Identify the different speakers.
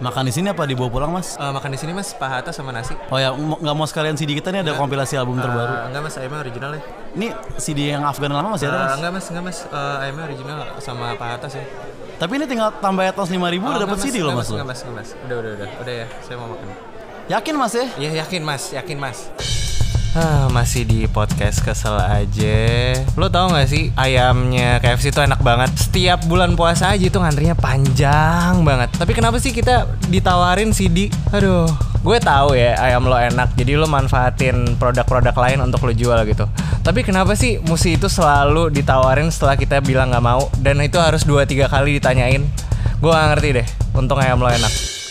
Speaker 1: Makan di sini apa dibawa pulang mas?
Speaker 2: Eh, makan di sini mas, paha atas sama nasi.
Speaker 1: Oh ya, mo- nggak mau sekalian CD kita nih ada kompilasi album terbaru.
Speaker 2: Eh, enggak mas, ayamnya original ya.
Speaker 1: Ini CD yang Afgan lama masih ada
Speaker 2: Eh,
Speaker 1: mas?
Speaker 2: enggak mas, enggak mas, Eh, ayamnya original sama paha atas ya.
Speaker 1: Tapi ini tinggal tambah atas 5000 udah
Speaker 2: Oh,
Speaker 1: dapat
Speaker 2: enggak,
Speaker 1: CD loh
Speaker 2: enggak,
Speaker 1: mas. ya?
Speaker 2: Enggak mas, enggak mas. Udah, udah, udah. Udah ya, saya mau makan.
Speaker 1: Yakin mas ya?
Speaker 2: Iya yakin mas, yakin mas. Ah, masih di podcast kesel aja. Lo tau gak sih ayamnya KFC itu enak banget. Setiap bulan puasa aja itu ngantrinya panjang banget. Tapi kenapa sih kita ditawarin CD? Aduh, gue tahu ya ayam lo enak. Jadi lo manfaatin produk-produk lain untuk lo jual gitu. Tapi kenapa sih musi itu selalu ditawarin setelah kita bilang nggak mau dan itu harus 2-3 kali ditanyain? Gue gak ngerti deh. Untung ayam lo enak.